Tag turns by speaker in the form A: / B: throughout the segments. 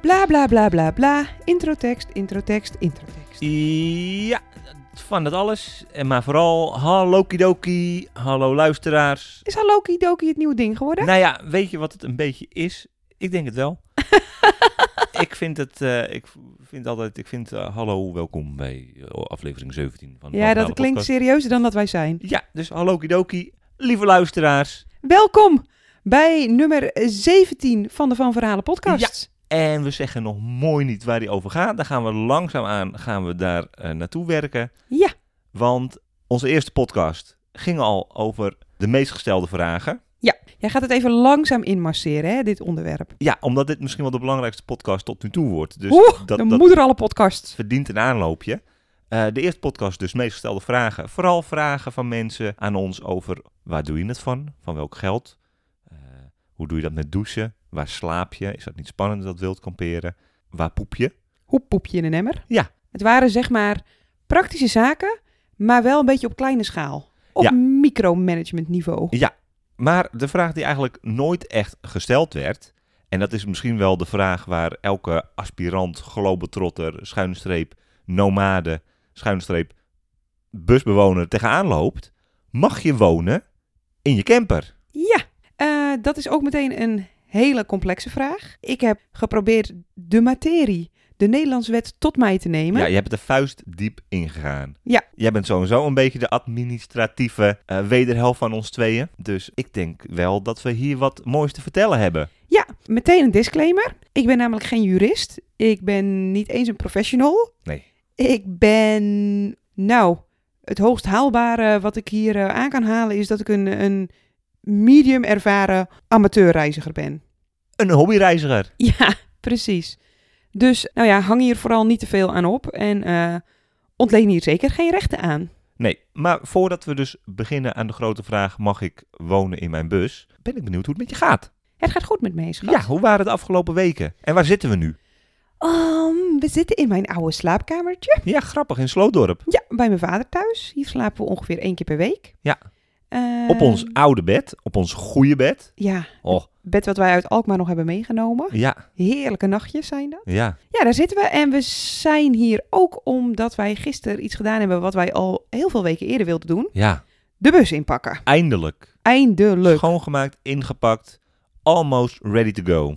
A: Bla bla bla bla bla. Introtekst, introtekst, introtekst.
B: Ja, van dat alles. En maar vooral hallo kidoki, hallo luisteraars.
A: Is Haloki Doki het nieuwe ding geworden?
B: Nou ja, weet je wat het een beetje is? Ik denk het wel. ik vind het, eh, ik vind altijd, ik vind eh, hallo welkom bij eh, aflevering 17 van de
A: ja,
B: Van
A: dat
B: Verhalen
A: klinkt
B: podcast.
A: serieuzer dan dat wij zijn.
B: Ja, dus hallo kidoki, lieve luisteraars.
A: Welkom bij nummer 17 van de Van Verhalen podcast.
B: En we zeggen nog mooi niet waar die over gaat. Dan gaan we langzaamaan gaan we daar eh, naartoe werken.
A: Ja.
B: Want onze eerste podcast ging al over de meest gestelde vragen.
A: Jij gaat het even langzaam inmasseren, hè, dit onderwerp.
B: Ja, omdat dit misschien wel de belangrijkste podcast tot nu toe wordt. Dus
A: Oeh,
B: dat,
A: de
B: dat
A: moeder alle podcast.
B: verdient een aanloopje. Eh, de eerste podcast dus meest gestelde vragen. Vooral vragen van mensen aan ons over waar doe je het van? Van welk geld? Eh, hoe doe je dat met douchen? Waar slaap je? Is dat niet spannend dat wild kamperen? Waar poep je?
A: Hoe poep je in een emmer?
B: Ja.
A: Het waren zeg maar praktische zaken, maar wel een beetje op kleine schaal. Op
B: Ja.
A: micromanagement niveau.
B: Ja, maar de vraag die eigenlijk nooit echt gesteld werd, en dat is misschien wel de vraag waar elke aspirant, globetrotter, schuinstreep, nomade, schuinstreep, busbewoner tegenaan loopt. Mag je wonen in je camper?
A: Ja, eh, dat is ook meteen een hele complexe vraag. Ik heb geprobeerd de materie, de Nederlandse wet, tot mij te nemen.
B: Ja, je hebt de vuist diep ingegaan.
A: Ja.
B: Jij bent sowieso een beetje de administratieve eh, wederhelft van ons tweeën. Dus ik denk wel dat we hier wat moois te vertellen hebben.
A: Ja, meteen een disclaimer. Ik ben namelijk geen jurist. Ik ben niet eens een professional.
B: Nee.
A: Ik ben, nou, het hoogst haalbare wat ik hier eh, aan kan halen is dat ik een, een medium ervaren amateurreiziger ben.
B: Een hobbyreiziger.
A: Ja, precies. Dus, nou ja, hang hier vooral niet te veel aan op en eh ontleen hier zeker geen rechten aan.
B: Nee, maar voordat we dus beginnen aan de grote vraag: mag ik wonen in mijn bus? Ben ik benieuwd hoe het met je gaat.
A: Het gaat goed met me, schat.
B: Ja, hoe waren de afgelopen weken? En waar zitten we nu?
A: Ehm, we zitten in mijn oude slaapkamertje.
B: Ja, grappig, in Sloodorp.
A: Ja, bij mijn vader thuis. Hier slapen we ongeveer één keer per week.
B: Ja.
A: Eh,
B: Op ons oude bed, op ons goede bed.
A: Ja,
B: Oh,
A: bed wat wij uit Alkmaar nog hebben meegenomen.
B: ja,
A: Heerlijke nachtjes zijn dat.
B: ja.
A: Ja, daar zitten we. En we zijn hier ook omdat wij gisteren iets gedaan hebben wat wij al heel veel weken eerder wilden doen.
B: Ja,
A: De bus inpakken.
B: eindelijk.
A: Eindelijk.
B: Schoongemaakt, ingepakt, almost ready to go.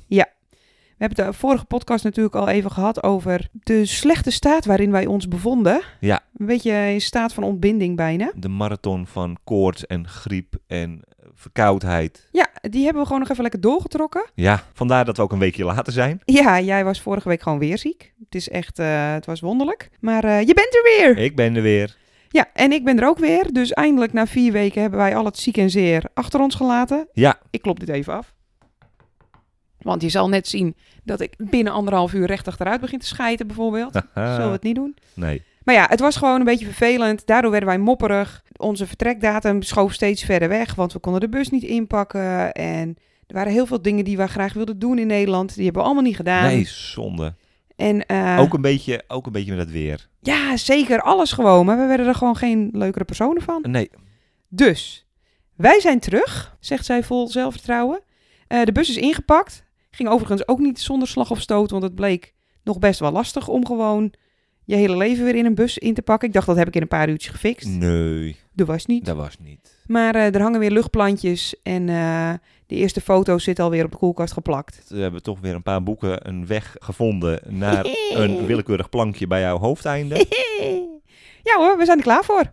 A: We hebben de vorige podcast natuurlijk al even gehad over de slechte staat waarin wij ons bevonden.
B: Ja.
A: Een beetje in staat van ontbinding bijna.
B: De marathon van koorts en griep en eh, verkoudheid.
A: Ja, die hebben we gewoon nog even lekker doorgetrokken.
B: Ja, vandaar dat we ook een weekje later zijn.
A: Ja, jij was vorige week gewoon weer ziek. Het is echt, eh, het was wonderlijk. Maar eh, je bent er weer!
B: Ik ben er weer.
A: Ja, en ik ben er ook weer. Dus eindelijk na vier weken hebben wij al het ziek en zeer achter ons gelaten.
B: Ja.
A: Ik klop dit even af. Want je zal net zien dat ik binnen anderhalf uur recht achteruit begin te schijten bijvoorbeeld.
B: Eh.
A: Zullen we het niet doen?
B: Nee.
A: Maar ja, het was gewoon een beetje vervelend. Daardoor werden wij mopperig. Onze vertrekdatum schoof steeds verder weg, want we konden de bus niet inpakken. En er waren heel veel dingen die wij graag wilden doen in Nederland. Die hebben we allemaal niet gedaan.
B: Nee, zonde.
A: En eh,
B: Ook een beetje, ook een beetje met dat weer.
A: ja, zeker alles gewoon. Maar we werden er gewoon geen leukere personen van.
B: Nee.
A: Dus, wij zijn terug, zegt zij vol zelfvertrouwen. Eh, de bus is ingepakt. Ging overigens ook niet zonder slag of stoot, want het bleek nog best wel lastig om gewoon je hele leven weer in een bus in te pakken. Ik dacht, dat heb ik in een paar uurtjes gefixt.
B: Mm. Nee,
A: Dat was niet.
B: dat was niet.
A: Maar eh, er hangen weer luchtplantjes en eh, de eerste foto's zitten alweer op de koelkast geplakt.
B: We hebben toch weer een paar boeken een weg gevonden naar Eh, een willekeurig plankje bij jouw hoofdeinde.
A: Ja hoor, we zijn er klaar voor.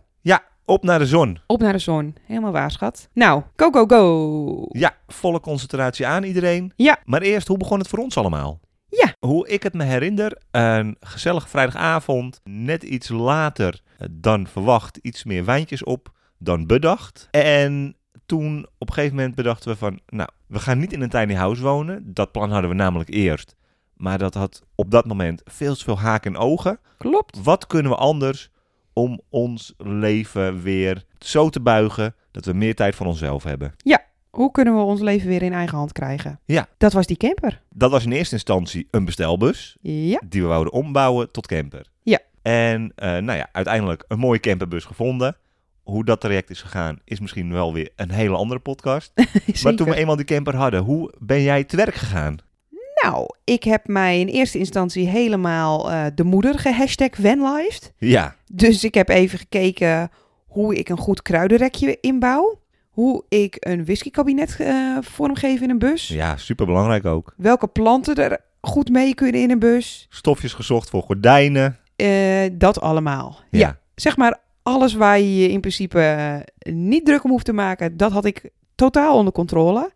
B: Op naar de zon.
A: Op naar de zon. Helemaal waar, schat. Nou, go, go, go.
B: Ja, volle concentratie aan iedereen.
A: Ja.
B: Maar eerst, hoe begon het voor ons allemaal?
A: Ja.
B: Hoe ik het me herinner, een gezellige vrijdagavond, net iets later eh, dan verwacht, iets meer wijntjes op dan bedacht. En toen op een gegeven moment bedachten we van, nou, we gaan niet in een tiny house wonen. Dat plan hadden we namelijk eerst. Maar dat had op dat moment veel te veel haken en ogen.
A: Klopt.
B: Wat kunnen we anders om ons leven weer zo te buigen dat we meer tijd voor onszelf hebben?
A: Hoe kunnen we ons leven weer in eigen hand krijgen?
B: Ja.
A: Dat was die camper.
B: Dat was in eerste instantie een bestelbus
A: Ja.
B: die we wouden ombouwen tot camper.
A: Ja.
B: En eh, nou ja, uiteindelijk een mooie camperbus gevonden. Hoe dat traject is gegaan is misschien wel weer een hele andere podcast. Maar toen we eenmaal die camper hadden, hoe ben jij te werk gegaan?
A: Nou, ik heb mij in eerste instantie helemaal eh, de moeder gehashtag vanlifed.
B: Ja,
A: Dus ik heb even gekeken hoe ik een goed kruidenrekje inbouw. Hoe ik een whiskykabinet eh, vormgeef in een bus.
B: ja superbelangrijk ook.
A: Welke planten er goed mee kunnen in een bus.
B: Stofjes gezocht voor gordijnen.
A: Eh, dat allemaal. Ja. Zeg maar alles waar je je in principe eh, niet druk om hoeft te maken. Dat had ik totaal onder controle.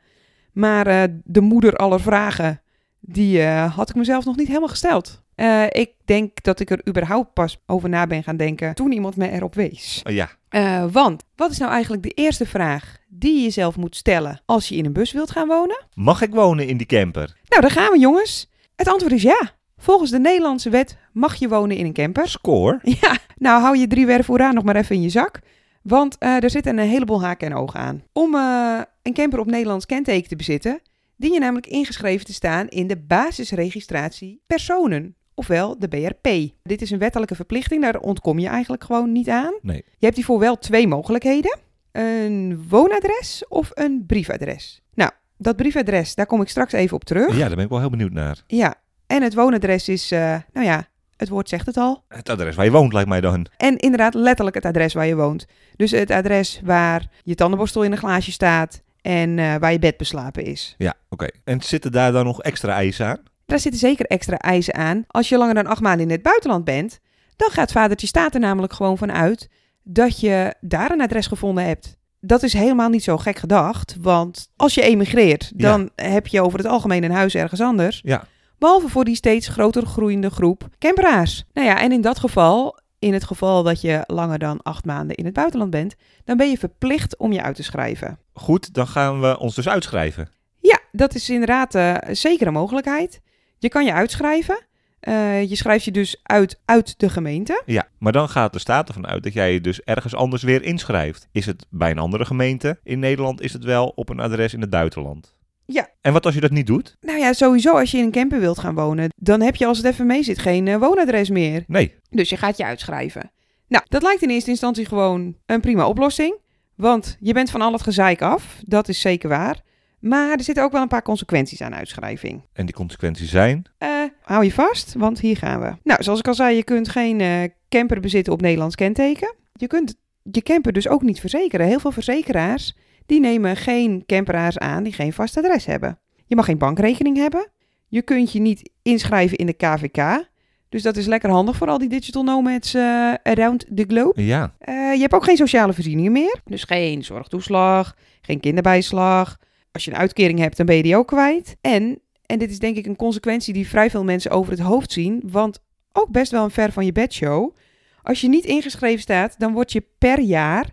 A: Maar eh, de moeder aller vragen, die eh, had ik mezelf nog niet helemaal gesteld. Eh, ik denk dat ik er überhaupt pas over na ben gaan denken toen iemand me erop wees.
B: Ja. Oh ja.
A: Eh, want wat is nou eigenlijk de eerste vraag die je jezelf moet stellen als je in een bus wilt gaan wonen?
B: Mag ik wonen in die camper?
A: Nou, daar gaan we jongens. Het antwoord is ja. Volgens de Nederlandse wet mag je wonen in een camper.
B: Score.
A: Ja, nou hou je drie werven hoera nog maar even in je zak. Want eh, er zitten een heleboel haken en ogen aan. Om eh, een camper op Nederlands kenteken te bezitten, dien je namelijk ingeschreven te staan in de basisregistratie personen, ofwel de BRP. Dit is een wettelijke verplichting, daar ontkom je eigenlijk gewoon niet aan.
B: Nee.
A: Je hebt hiervoor wel twee mogelijkheden: een woonadres of een briefadres. Nou, dat briefadres, daar kom ik straks even op terug.
B: Ja, daar ben ik wel heel benieuwd naar.
A: Ja, en het woonadres is, eh, nou ja, het woord zegt het al.
B: Het adres waar je woont lijkt mij dan.
A: En inderdaad letterlijk het adres waar je woont. Dus het adres waar je tandenborstel in een glaasje staat en eh, waar je bed beslapen is.
B: Ja, oké. En zitten daar dan nog extra eisen aan?
A: Daar zitten zeker extra eisen aan. Als je langer dan acht maanden in het buitenland bent, dan gaat vadertje staat er namelijk gewoon van uit dat je daar een adres gevonden hebt. Dat is helemaal niet zo gek gedacht, want als je emigreert,
B: Ja.
A: dan heb je over het algemeen een huis ergens anders.
B: Ja.
A: Behalve voor die steeds groter groeiende groep camperaars. Nou ja, en in dat geval, in het geval dat je langer dan acht maanden in het buitenland bent, dan ben je verplicht om je uit te schrijven.
B: Goed, dan gaan we ons dus uitschrijven.
A: Ja, dat is inderdaad eh, zeker een mogelijkheid. Je kan je uitschrijven. Eh, je schrijft je dus uit uit de gemeente.
B: Ja, maar dan gaat de staat ervan uit dat jij je dus ergens anders weer inschrijft. Is het bij een andere gemeente in Nederland, is het wel op een adres in het buitenland.
A: Ja.
B: En wat als je dat niet doet?
A: Nou ja, sowieso als je in een camper wilt gaan wonen, dan heb je als het even mee zit geen eh, woonadres meer.
B: Nee.
A: Dus je gaat je uitschrijven. Nou, dat lijkt in eerste instantie gewoon een prima oplossing. Want je bent van al het gezeik af, dat is zeker waar. Maar er zitten ook wel een paar consequenties aan uitschrijving.
B: En die consequenties zijn?
A: Eh, hou je vast, want hier gaan we. Nou, zoals ik al zei, je kunt geen eh, camper bezitten op Nederlands kenteken. Je kunt je camper dus ook niet verzekeren. Heel veel verzekeraars die nemen geen camperaars aan die geen vast adres hebben. Je mag geen bankrekening hebben. Je kunt je niet inschrijven in de KVK. Dus dat is lekker handig voor al die digital nomads eh, around the globe.
B: Ja.
A: Eh, je hebt ook geen sociale voorzieningen meer. Dus geen zorgtoeslag, geen kinderbijslag. Als je een uitkering hebt, dan ben je die ook kwijt. En, en dit is denk ik een consequentie die vrij veel mensen over het hoofd zien. Want ook best wel een ver van je bedshow. Als je niet ingeschreven staat, dan word je per jaar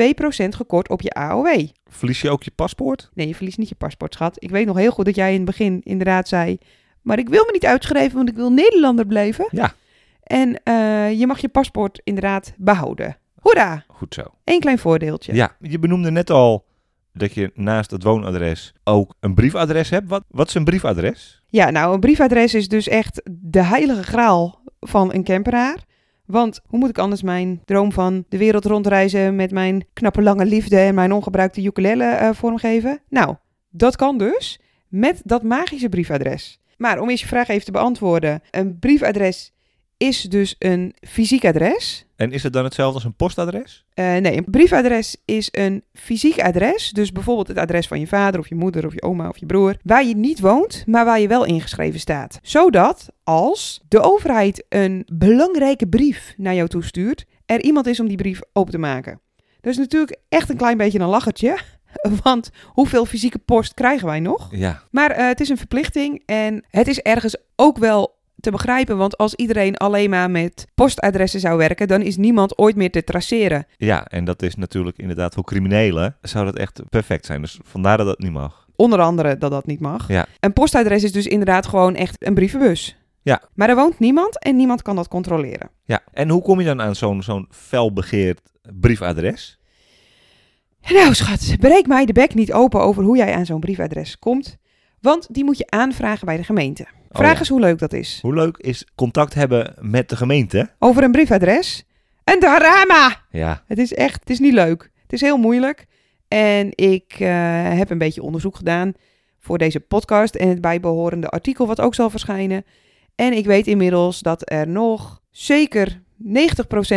A: 2% gekort op je AOW.
B: Verlies je ook je paspoort?
A: Nee, je verliest niet je paspoort, schat. Ik weet nog heel goed dat jij in het begin inderdaad zei... maar ik wil me niet uitschrijven, want ik wil Nederlander blijven.
B: Ja.
A: En eh, je mag je paspoort inderdaad behouden. Hoera!
B: Goed zo.
A: Eén klein voordeeltje.
B: Ja. Je benoemde net al dat je naast het woonadres ook een briefadres hebt. Wat, wat is een briefadres?
A: Ja, nou, een briefadres is dus echt de heilige graal van een camperaar. Want hoe moet ik anders mijn droom van de wereld rondreizen met mijn knappe lange liefde en mijn ongebruikte ukulele eh, vormgeven? Nou, dat kan dus met dat magische briefadres. Maar om eerst je vraag even te beantwoorden. Een briefadres is dus een fysiek adres.
B: En is het dan hetzelfde als een postadres?
A: Eh, nee, een briefadres is een fysiek adres. Dus bijvoorbeeld het adres van je vader of je moeder of je oma of je broer. Waar je niet woont, maar waar je wel ingeschreven staat. Zodat als de overheid een belangrijke brief naar jou toestuurt, er iemand is om die brief open te maken. Dat is natuurlijk echt een klein beetje een lachertje. Want hoeveel fysieke post krijgen wij nog?
B: Ja.
A: Maar eh, het is een verplichting en het is ergens ook wel te begrijpen, want als iedereen alleen maar met postadressen zou werken, dan is niemand ooit meer te traceren.
B: Ja, en dat is natuurlijk inderdaad voor criminelen zou dat echt perfect zijn. Dus vandaar dat dat niet mag.
A: Onder andere dat dat niet mag.
B: Ja.
A: Een postadres is dus inderdaad gewoon echt een brievenbus.
B: Ja.
A: Maar er woont niemand en niemand kan dat controleren.
B: Ja, en hoe kom je dan aan zo'n zo'n felbegeerd briefadres?
A: Nou schat, breek mij de bek niet open over hoe jij aan zo'n briefadres komt. Want die moet je aanvragen bij de gemeente.
B: Oh
A: Vraag
B: ja.
A: eens hoe leuk dat is.
B: Hoe leuk is contact hebben met de gemeente?
A: Over een briefadres. Een drama!
B: Ja,
A: Het is echt, het is niet leuk. Het is heel moeilijk. En ik eh, heb een beetje onderzoek gedaan voor deze podcast en het bijbehorende artikel wat ook zal verschijnen. En ik weet inmiddels dat er nog zeker 90%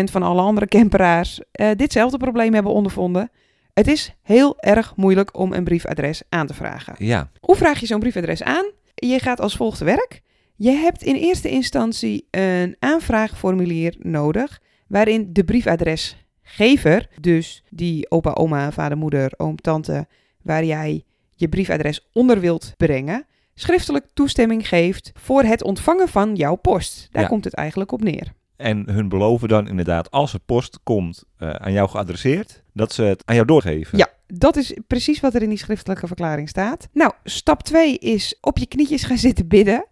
A: van alle andere camperaars eh, ditzelfde probleem hebben ondervonden. Het is heel erg moeilijk om een briefadres aan te vragen.
B: ja,
A: Hoe vraag je zo'n briefadres aan? Je gaat als volgt te werk. Je hebt in eerste instantie een aanvraagformulier nodig, waarin de briefadresgever, dus die opa, oma, vader, moeder, oom, tante, waar jij je briefadres onder wilt brengen, schriftelijk toestemming geeft voor het ontvangen van jouw post. Daar
B: Ja.
A: komt het eigenlijk op neer.
B: En hun beloven dan inderdaad, als er post komt eh, aan jou geadresseerd, dat ze het aan jou doorgeven.
A: Ja, dat is precies wat er in die schriftelijke verklaring staat. Nou, stap 2 is op je knietjes gaan zitten bidden.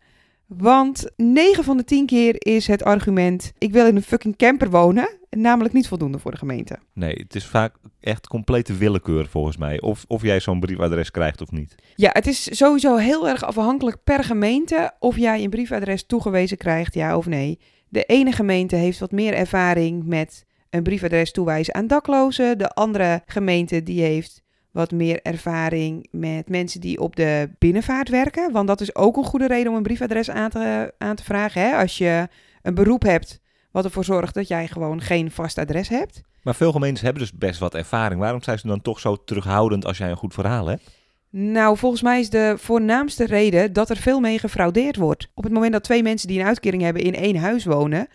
A: Want 9 van de 10 keer is het argument: ik wil in een fucking camper wonen. Namelijk niet voldoende voor de gemeente.
B: Nee, het is vaak echt complete willekeur volgens mij. Of, of jij zo'n briefadres krijgt of niet.
A: Ja, het is sowieso heel erg afhankelijk per gemeente of jij een briefadres toegewezen krijgt, ja of nee. De ene gemeente heeft wat meer ervaring met een briefadres toewijzen aan daklozen. De andere gemeente die heeft wat meer ervaring met mensen die op de binnenvaart werken. Want dat is ook een goede reden om een briefadres aan te, aan te vragen. Hè? Als je een beroep hebt wat ervoor zorgt dat jij gewoon geen vast adres hebt.
B: Maar veel gemeentes hebben dus best wat ervaring. Waarom zijn ze dan toch zo terughoudend als jij een goed verhaal hebt?
A: Nou, volgens mij is de voornaamste reden dat er veel mee gefraudeerd wordt. Op het moment dat twee mensen die een uitkering hebben in één huis wonen,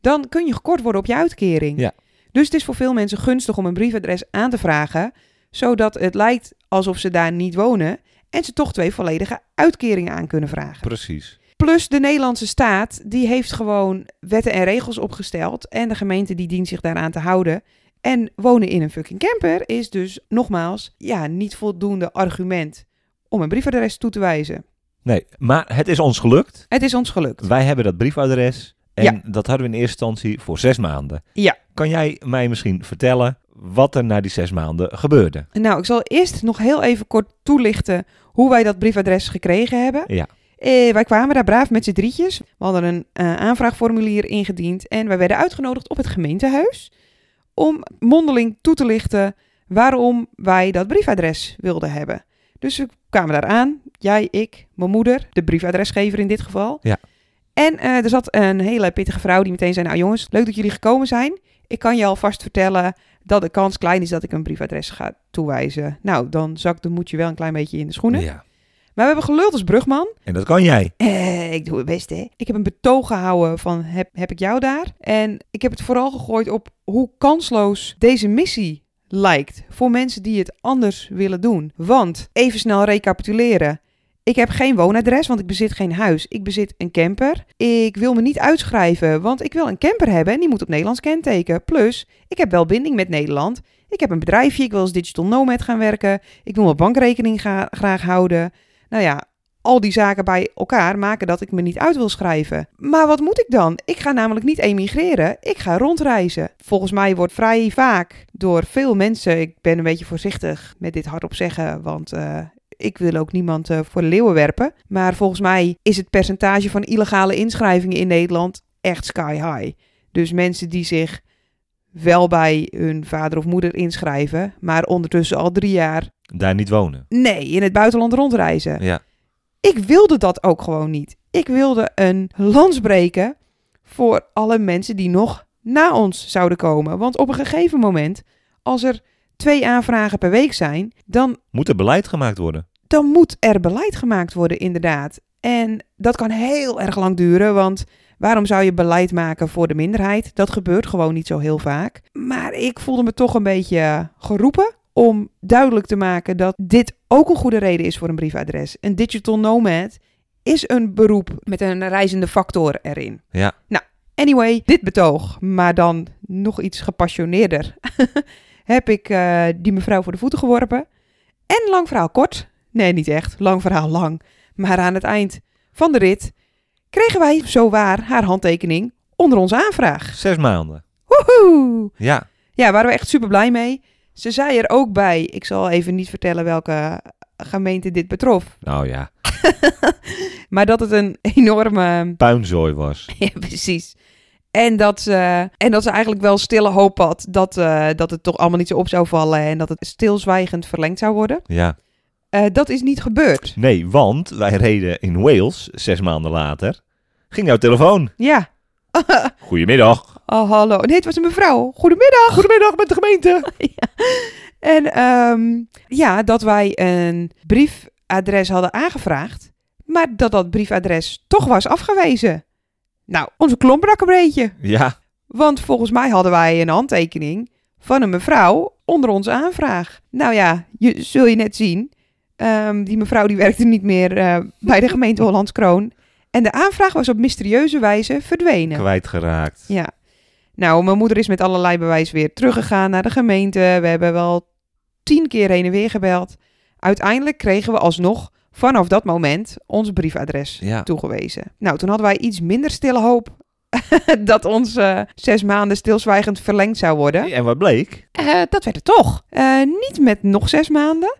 A: dan kun je gekort worden op je uitkering.
B: Ja.
A: Dus het is voor veel mensen gunstig om een briefadres aan te vragen, zodat het lijkt alsof ze daar niet wonen en ze toch twee volledige uitkeringen aan kunnen vragen.
B: Precies.
A: Plus de Nederlandse staat, die heeft gewoon wetten en regels opgesteld en de gemeente die dient zich daaraan te houden. En wonen in een fucking camper is dus nogmaals ja, niet voldoende argument om een briefadres toe te wijzen.
B: Nee, maar het is ons gelukt.
A: Het is ons gelukt.
B: Wij hebben dat briefadres en dat hadden we in eerste instantie voor zes maanden.
A: Ja.
B: Kan jij mij misschien vertellen wat er na die zes maanden gebeurde?
A: Nou, ik zal eerst nog heel even kort toelichten hoe wij dat briefadres gekregen hebben.
B: Ja.
A: Eh, wij kwamen daar braaf met z'n drietjes. We hadden een eh, aanvraagformulier ingediend en wij werden uitgenodigd op het gemeentehuis om mondeling toe te lichten waarom wij dat briefadres wilden hebben. Dus we kwamen daar aan, jij, ik, mijn moeder, de briefadresgever in dit geval.
B: Ja.
A: En eh, er zat een hele pittige vrouw die meteen zei, nou jongens, leuk dat jullie gekomen zijn. Ik kan je alvast vertellen dat de kans klein is dat ik een briefadres ga toewijzen. Nou, dan zakt de moedje wel een klein beetje in de schoenen.
B: Ja.
A: Maar we hebben geluld als brugman.
B: En dat kan jij.
A: Eh, ik doe het best, hè. Ik heb een betoog gehouden van heb, heb ik jou daar? En ik heb het vooral gegooid op hoe kansloos deze missie lijkt voor mensen die het anders willen doen. Want, even snel recapituleren. Ik heb geen woonadres, want ik bezit geen huis. Ik bezit een camper. Ik wil me niet uitschrijven, want ik wil een camper hebben en die moet op Nederlands kenteken. Plus, ik heb wel binding met Nederland. Ik heb een bedrijfje, ik wil als digital nomad gaan werken. Ik wil mijn bankrekening ga- graag houden. Nou ja, al die zaken bij elkaar maken dat ik me niet uit wil schrijven. Maar wat moet ik dan? Ik ga namelijk niet emigreren, ik ga rondreizen. Volgens mij wordt vrij vaak door veel mensen, ik ben een beetje voorzichtig met dit hardop zeggen, want eh, ik wil ook niemand eh, voor de leeuwen werpen. Maar volgens mij is het percentage van illegale inschrijvingen in Nederland echt sky high. Dus mensen die zich wel bij hun vader of moeder inschrijven, maar ondertussen al drie jaar
B: Daar niet wonen.
A: nee in het buitenland rondreizen.
B: Ja.
A: Ik wilde dat ook gewoon niet. Ik wilde een lans breken voor alle mensen die nog na ons zouden komen. Want op een gegeven moment, als er twee aanvragen per week zijn, dan,
B: Moet er beleid gemaakt worden?
A: dan moet er beleid gemaakt worden, inderdaad. En dat kan heel erg lang duren, want waarom zou je beleid maken voor de minderheid? Dat gebeurt gewoon niet zo heel vaak. Maar ik voelde me toch een beetje geroepen om duidelijk te maken dat dit ook een goede reden is voor een briefadres. Een digital nomad is een beroep met een reizende factor erin.
B: Ja.
A: Nou, anyway, dit betoog, maar dan nog iets gepassioneerder, heb ik eh, die mevrouw voor de voeten geworpen. En lang verhaal kort, nee niet echt, lang verhaal lang, maar aan het eind van de rit kregen wij zowaar haar handtekening onder onze aanvraag.
B: Zes maanden.
A: Woehoe!
B: Ja.
A: Ja, waren we echt super blij mee. Ze zei er ook bij, ik zal even niet vertellen welke gemeente dit betrof,
B: Nou ja,
A: maar dat het een enorme.
B: puinzooi was.
A: Ja, precies. En dat, ze, en dat ze eigenlijk wel stille hoop had dat, eh, dat het toch allemaal niet zo op zou vallen en dat het stilzwijgend verlengd zou worden.
B: Ja.
A: Eh, dat is niet gebeurd.
B: Nee, want wij reden in Wales zes maanden later. Ging jouw telefoon.
A: Ja.
B: Goedemiddag.
A: Oh, hallo. Nee, het was een mevrouw. Goedemiddag.
B: Goedemiddag met de gemeente.
A: En ehm, ja, dat wij een briefadres hadden aangevraagd, maar dat dat briefadres toch was afgewezen. Nou, onze klomp brak een beetje.
B: Ja.
A: Want volgens mij hadden wij een handtekening van een mevrouw onder onze aanvraag. Nou ja, je, zul je net zien. Ehm, die mevrouw die werkte niet meer eh, bij de gemeente Hollands Kroon. En de aanvraag was op mysterieuze wijze verdwenen.
B: Kwijtgeraakt.
A: Ja. Nou, mijn moeder is met allerlei bewijs weer teruggegaan naar de gemeente. We hebben wel tien keer heen en weer gebeld. Uiteindelijk kregen we alsnog vanaf dat moment ons briefadres
B: Ja.
A: toegewezen. Nou, toen hadden wij iets minder stille hoop dat ons eh, zes maanden stilzwijgend verlengd zou worden.
B: En wat bleek?
A: Eh, dat werd het toch. Eh, niet met nog zes maanden,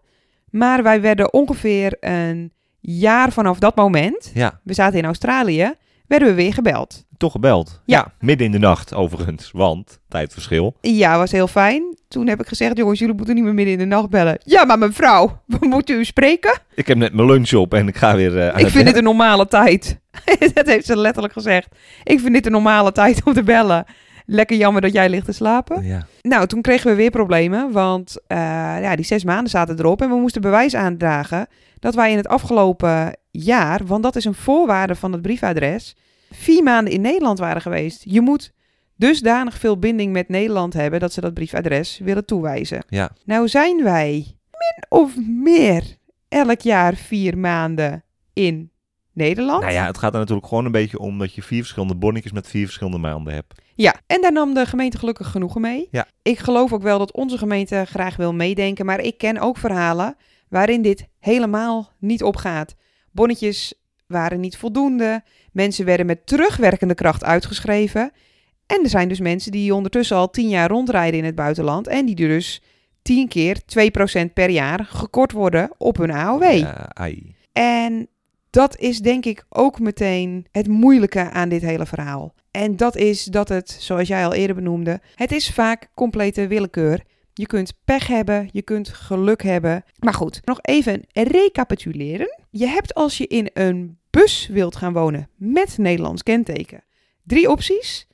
A: maar wij werden ongeveer een jaar vanaf dat moment.
B: Ja,
A: We zaten in Australië, werden we weer gebeld.
B: toch gebeld.
A: Ja.
B: Midden in de nacht overigens, want tijdverschil.
A: Ja, was heel fijn. Toen heb ik gezegd, jongens, jullie moeten niet meer midden in de nacht bellen. Ja, maar mevrouw, we moeten u spreken.
B: Ik heb net mijn lunch op en ik ga weer eh, aan
A: ik vind
B: bed.
A: dit een normale tijd. dat heeft ze letterlijk gezegd. Ik vind dit een normale tijd om te bellen. Lekker jammer dat jij ligt te slapen.
B: Ja.
A: Nou, toen kregen we weer problemen, want eh, ja, die zes maanden zaten erop. En we moesten bewijs aandragen dat wij in het afgelopen jaar, want dat is een voorwaarde van het briefadres, vier maanden in Nederland waren geweest. Je moet dusdanig veel binding met Nederland hebben dat ze dat briefadres willen toewijzen.
B: Ja.
A: Nou zijn wij min of meer elk jaar vier maanden in Nederland.
B: Nou ja, het gaat er natuurlijk gewoon een beetje om dat je vier verschillende bonnetjes met vier verschillende maanden hebt.
A: Ja, en daar nam de gemeente gelukkig genoegen mee.
B: Ja.
A: Ik geloof ook wel dat onze gemeente graag wil meedenken, maar ik ken ook verhalen waarin dit helemaal niet opgaat. Bonnetjes waren niet voldoende, mensen werden met terugwerkende kracht uitgeschreven. En er zijn dus mensen die ondertussen al tien jaar rondrijden in het buitenland en die dus tien keer 2% per jaar gekort worden op hun AOW.
B: Ja, ai.
A: En dat is denk ik ook meteen het moeilijke aan dit hele verhaal. En dat is dat het, zoals jij al eerder benoemde, het is vaak complete willekeur. Je kunt pech hebben, je kunt geluk hebben. Maar goed, nog even recapituleren. Je hebt als je in een bus wilt gaan wonen met Nederlands kenteken drie opties.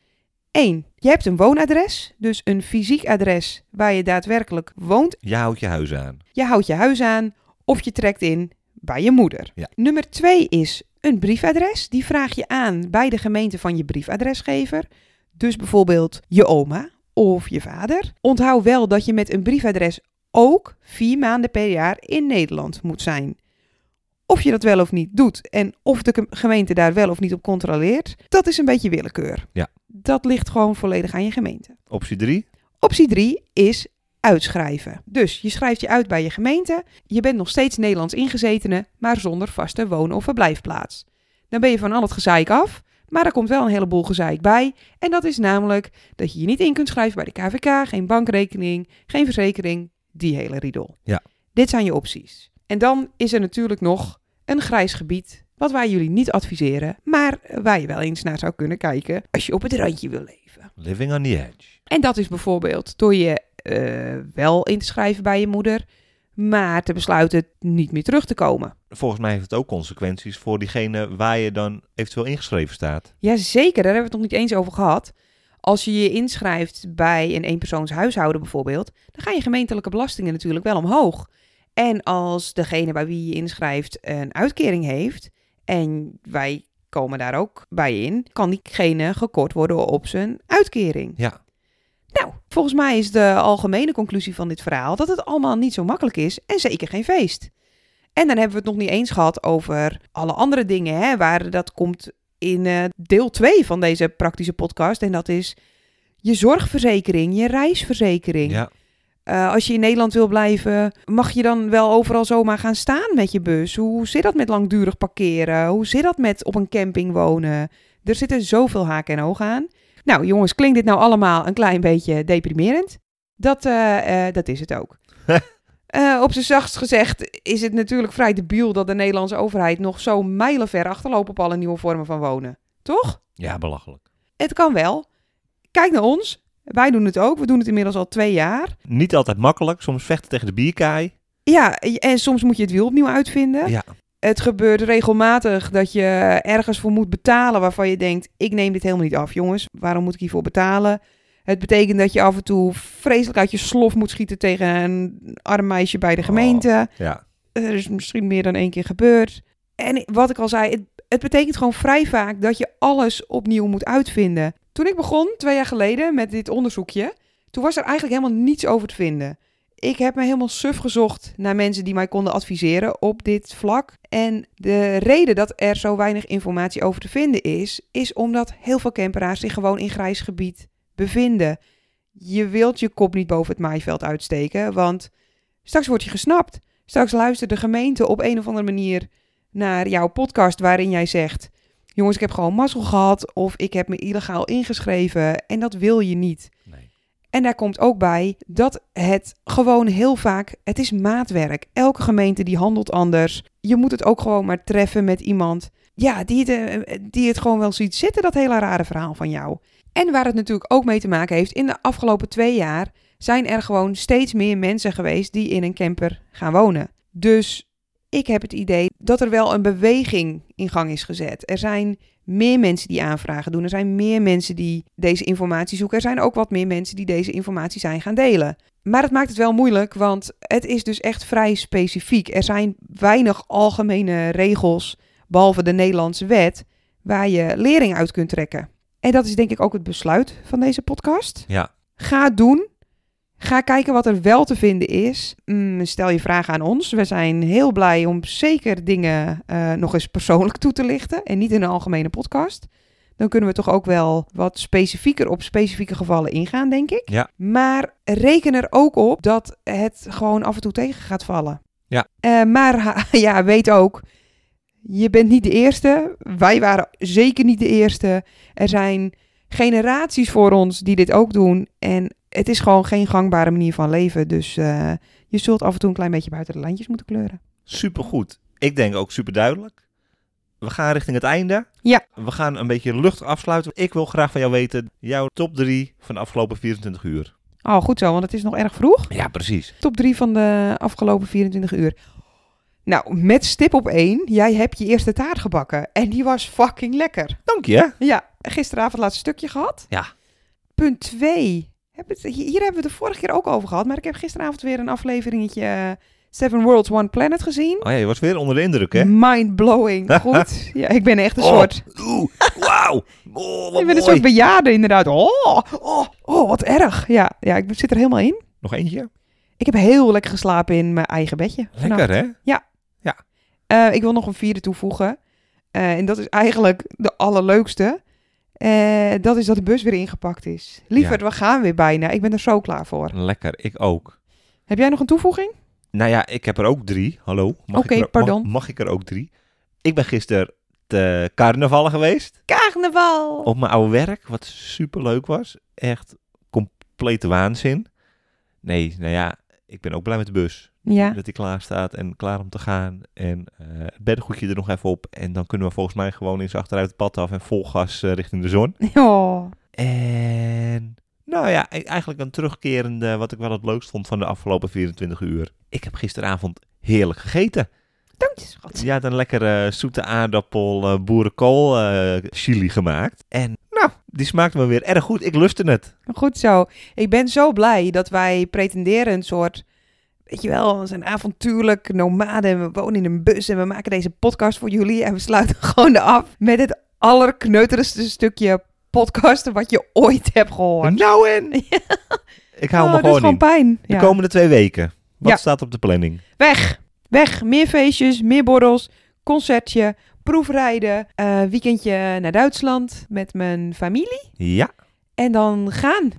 A: 1. Je hebt een woonadres, dus een fysiek adres waar je daadwerkelijk woont
B: Je houdt je huis aan.
A: je houdt je huis aan of je trekt in bij je moeder.
B: Ja.
A: Nummer twee is een briefadres. Die vraag je aan bij de gemeente van je briefadresgever. Dus bijvoorbeeld je oma of je vader. Onthoud wel dat je met een briefadres ook vier maanden per jaar in Nederland moet zijn. Of je dat wel of niet doet en of de gem- gemeente daar wel of niet op controleert, dat is een beetje willekeur.
B: Ja.
A: Dat ligt gewoon volledig aan je gemeente.
B: Optie 3.
A: Optie 3 is uitschrijven. Dus je schrijft je uit bij je gemeente. Je bent nog steeds Nederlands ingezetene, maar zonder vaste woon- of verblijfplaats. Dan ben je van al het gezeik af, maar er komt wel een heleboel gezeik bij. En dat is namelijk dat je je niet in kunt schrijven bij de KVK, geen bankrekening, geen verzekering, die hele riedel.
B: Ja.
A: Dit zijn je opties. En dan is er natuurlijk nog een grijs gebied, wat wij jullie niet adviseren, maar waar je wel eens naar zou kunnen kijken als je op het randje wil leven.
B: Living on the edge.
A: En dat is bijvoorbeeld door je eh, wel in te schrijven bij je moeder, maar te besluiten niet meer terug te komen.
B: Volgens mij heeft het ook consequenties voor diegene waar je dan eventueel ingeschreven staat.
A: Jazeker, daar hebben we het nog niet eens over gehad. Als je je inschrijft bij een eenpersoonshuishouden bijvoorbeeld, dan gaan je gemeentelijke belastingen natuurlijk wel omhoog. En als degene bij wie je inschrijft een uitkering heeft, en wij komen daar ook bij in, kan diegene gekort worden op zijn uitkering.
B: Ja.
A: Nou, volgens mij is de algemene conclusie van dit verhaal dat het allemaal niet zo makkelijk is en zeker geen feest. En dan hebben we het nog niet eens gehad over alle andere dingen. Hè, waar dat komt in eh, deel 2 van deze praktische podcast. En dat is je zorgverzekering, je reisverzekering.
B: Ja.
A: Eh, als je in Nederland wil blijven, mag je dan wel overal zomaar gaan staan met je bus? Hoe zit dat met langdurig parkeren? Hoe zit dat met op een camping wonen? Er zitten zoveel haken en ogen aan. Nou, jongens, klinkt dit nou allemaal een klein beetje deprimerend? Dat, eh, eh, dat is het ook. Eh, op zijn zachtst gezegd is het natuurlijk vrij debiel dat de Nederlandse overheid nog zo mijlenver achterloopt op alle nieuwe vormen van wonen. Toch?
B: ja, belachelijk.
A: Het kan wel. Kijk naar ons. Wij doen het ook. We doen het inmiddels al twee jaar.
B: Niet altijd makkelijk, soms vechten tegen de bierkaai.
A: Ja, en soms moet je het wiel opnieuw uitvinden.
B: Ja.
A: Het gebeurt regelmatig dat je ergens voor moet betalen waarvan je denkt: ik neem dit helemaal niet af, jongens. Waarom moet ik hiervoor betalen? Het betekent dat je af en toe vreselijk uit je slof moet schieten tegen een arm meisje bij de gemeente.
B: Oh, Ja,
A: Er is misschien meer dan één keer gebeurd. En wat ik al zei, het, het betekent gewoon vrij vaak dat je alles opnieuw moet uitvinden. Toen ik begon, twee jaar geleden, met dit onderzoekje, toen was er eigenlijk helemaal niets over te vinden. Ik heb me helemaal suf gezocht naar mensen die mij konden adviseren op dit vlak. En de reden dat er zo weinig informatie over te vinden is, is omdat heel veel camperaars zich gewoon in grijs gebied bevinden. Je wilt je kop niet boven het maaiveld uitsteken, want straks word je gesnapt. Straks luistert de gemeente op een of andere manier naar jouw podcast waarin jij zegt: Jongens, ik heb gewoon mazzel gehad of ik heb me illegaal ingeschreven en dat wil je niet.
B: nee.
A: En daar komt ook bij dat het gewoon heel vaak, het is maatwerk. Elke gemeente die handelt anders. Je moet het ook gewoon maar treffen met iemand ja, die het, eh, die het gewoon wel ziet zitten, dat hele rare verhaal van jou. En waar het natuurlijk ook mee te maken heeft, in de afgelopen twee jaar zijn er gewoon steeds meer mensen geweest die in een camper gaan wonen. Dus ik heb het idee dat er wel een beweging in gang is gezet. Er zijn meer mensen die aanvragen doen. Er zijn meer mensen die deze informatie zoeken. Er zijn ook wat meer mensen die deze informatie zijn gaan delen. Maar het maakt het wel moeilijk, want het is dus echt vrij specifiek. Er zijn weinig algemene regels, behalve de Nederlandse wet, waar je lering uit kunt trekken. En dat is denk ik ook het besluit van deze podcast.
B: Ja.
A: Ga het doen. Ga kijken wat er wel te vinden is. Mm, stel je vragen aan ons. We zijn heel blij om zeker dingen eh, nog eens persoonlijk toe te lichten en niet in een algemene podcast. Dan kunnen we toch ook wel wat specifieker op specifieke gevallen ingaan, denk ik.
B: Ja.
A: Maar reken er ook op dat het gewoon af en toe tegen gaat vallen.
B: Ja.
A: Eh, maar ha- ja, weet ook, je bent niet de eerste. Wij waren zeker niet de eerste. Er zijn generaties voor ons die dit ook doen. En het is gewoon geen gangbare manier van leven. Dus eh, je zult af en toe een klein beetje buiten de lijntjes moeten kleuren.
B: Supergoed. Ik denk ook superduidelijk. We gaan richting het einde.
A: Ja.
B: We gaan een beetje lucht afsluiten. Ik wil graag van jou weten, jouw top 3 van de afgelopen 24 uur.
A: Oh, goed zo, want het is nog erg vroeg.
B: Ja, precies.
A: Top 3 van de afgelopen 24 uur. Nou, met stip op 1. Jij hebt je eerste taart gebakken. En die was fucking lekker.
B: Dank je. hè?
A: Ja, gisteravond laatste stukje gehad.
B: Ja.
A: Punt 2. Hier hebben we het de vorige keer ook over gehad. Maar ik heb gisteravond weer een afleveringetje eh, Seven Worlds, One Planet gezien.
B: Oh ja, je was weer onder de indruk, hè?
A: Mind-blowing. Goed. ja, ik ben echt een soort...
B: Oh, oeh, wauw. Oh, wat
A: Ik ben een
B: mooi.
A: soort bejaarde inderdaad. Oh, oh, oh, wat erg. Ja, ja, ik zit er helemaal in.
B: Nog eentje?
A: Ik heb heel lekker geslapen in mijn eigen bedje. vannacht.
B: Lekker, hè?
A: Eh, ik wil nog een vierde toevoegen. Eh, en dat is eigenlijk de allerleukste. Eh, dat is dat de bus weer ingepakt is. Lieverd, we gaan weer bijna. Ik ben er zo klaar voor.
B: Lekker, ik ook.
A: Heb jij nog een toevoeging?
B: Nou ja, ik heb er ook drie. Hallo. Mag ik
A: Oké,
B: er ook-
A: pardon.
B: Mag, mag ik er ook drie? Ik ben gisteren te carnavallen geweest.
A: Carnaval!
B: Op mijn oude werk, wat superleuk was. Echt complete waanzin. Nee, nou ja, ik ben ook blij met de bus.
A: Ja,
B: Dat die klaar staat en klaar om te gaan. En eh het beddengoedje er nog even op. En dan kunnen we volgens mij gewoon eens achteruit het pad af en vol gas eh, richting de zon.
A: oh,
B: En nou ja, e- eigenlijk een terugkerende wat ik wel het leukst vond van de afgelopen 24 uur. Ik heb gisteravond heerlijk gegeten.
A: dank je schat.
B: Ja, een lekkere zoete aardappel eh, boerenkool eh, chili gemaakt. En nou, die smaakte me weer erg goed. Ik lustte het.
A: Goed zo. Ik ben zo blij dat wij pretenderen een soort... Weet je wel, we zijn avontuurlijk nomaden en we wonen in een bus en we maken deze podcast voor jullie en we sluiten gewoon af met het allerkneuterigste stukje podcasten wat je ooit hebt gehoord.
B: Nou en! Ik hou
A: Oh,
B: me
A: dat is
B: gewoon
A: gewoon
B: in.
A: pijn.
B: De
A: Ja.
B: komende twee weken. Wat
A: Ja.
B: staat op de planning?
A: Weg! Weg, meer feestjes, meer borrels, concertje, proefrijden, eh, weekendje naar Duitsland met mijn familie.
B: Ja,
A: En dan gaan.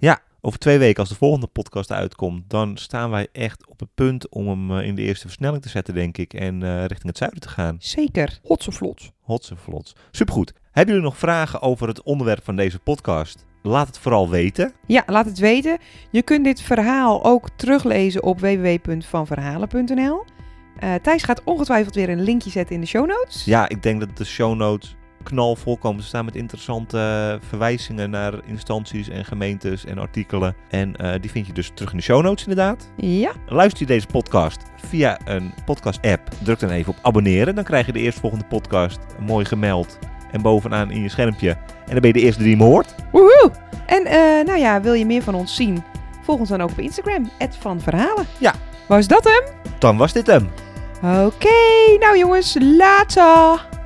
B: over twee weken als de volgende podcast uitkomt, dan staan wij echt op het punt om hem eh, in de eerste versnelling te zetten, denk ik. En eh, richting het zuiden te gaan.
A: Zeker. Hotse vlot.
B: Hots en vlots. Supergoed. Hebben jullie nog vragen over het onderwerp van deze podcast? Laat het vooral weten.
A: Ja, laat het weten. Je kunt dit verhaal ook teruglezen op www.vanverhalen.nl. Eh Thijs gaat ongetwijfeld weer een linkje zetten in de show notes.
B: Ja, ik denk dat de show notes knalvol komen te staan met interessante eh, verwijzingen naar instanties en gemeentes en artikelen. En eh, die vind je dus terug in de show notes inderdaad.
A: Ja,
B: Luister je deze podcast via een podcast-app, druk dan even op abonneren. Dan krijg je de eerstvolgende podcast mooi gemeld en bovenaan in je schermpje. En dan ben je de eerste die hem hoort.
A: woehoe! En eh, nou ja, wil je meer van ons zien? Volg ons dan ook op Instagram, @vanverhalen.
B: Ja.
A: Was dat hem?
B: Dan was dit hem.
A: Oké, nou jongens, later!